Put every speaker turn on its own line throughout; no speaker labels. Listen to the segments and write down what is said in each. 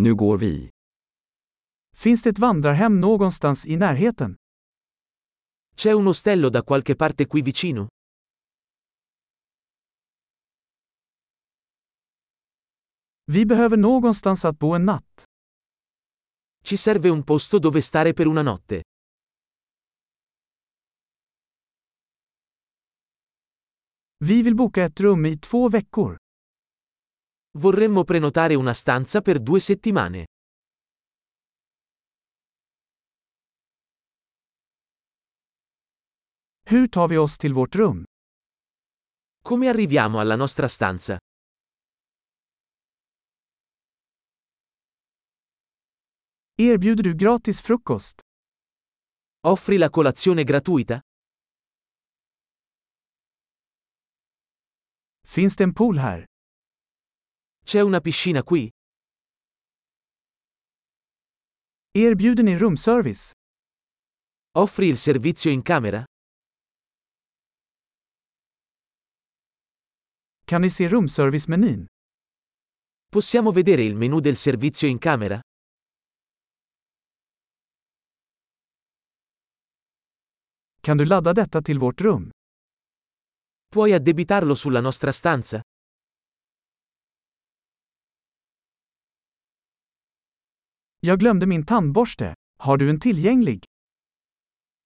Nu går vi.
Finns det ett vandrarhem någonstans i närheten?
C'è un ostello da qualche parte qui vicino?
Vi behöver någonstans att bo en natt.
Ci serve un posto dove stare per una notte.
Vi vill boka ett rum i två veckor.
Vorremmo prenotare una stanza per due settimane.
Hur tar vi oss till vårt rum?
Come arriviamo alla nostra stanza?
Erbjuder du gratis frukost?
Offri la colazione gratuita?
Finns det en pool här?
C'è una piscina qui?
Erbjuder ni rumservice?
Offri il servizio in camera?
Kan ni se rumservice-menyn?
Possiamo vedere il menu del servizio in camera?
Kan du ladda detta till vårt rum?
Puoi addebitarlo sulla nostra stanza?
Jag glömde min tandborste. Har du en tillgänglig?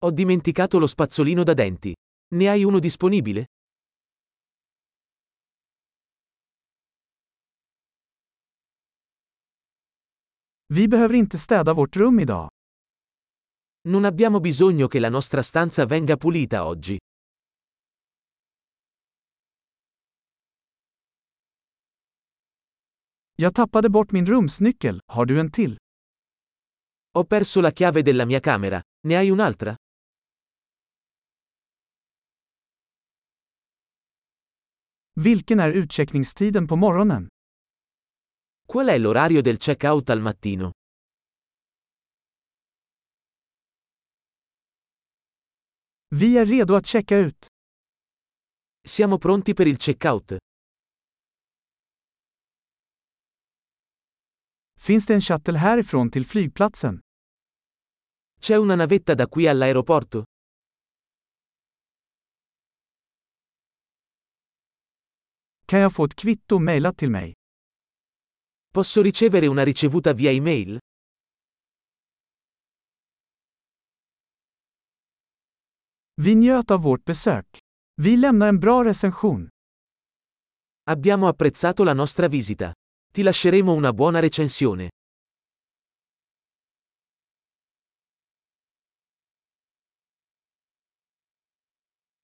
Ho dimenticato lo spazzolino da denti. Ne hai uno disponibile?
Vi behöver inte städa vårt rum idag.
Non abbiamo bisogno che la nostra stanza venga pulita oggi.
Jag tappade bort min rumsnyckel. Har du en till?
Ho perso la chiave della mia camera. Ne hai un'altra?
Vilken är utcheckningstiden på morgonen?
Qual è l'orario del check-out al mattino?
Vi är redo att checka ut.
Siamo pronti per il check-out.
Finns det en shuttle härifrån till flygplatsen?
C'è una navetta da qui all'aeroporto?
Kan jag få ett kvitto mejlat till mig?
Posso ricevere una ricevuta via email?
Vi njöt av vårt besök. Vi lämnar en bra recension.
Abbiamo apprezzato la nostra visita. Ti lasceremo una buona recensione.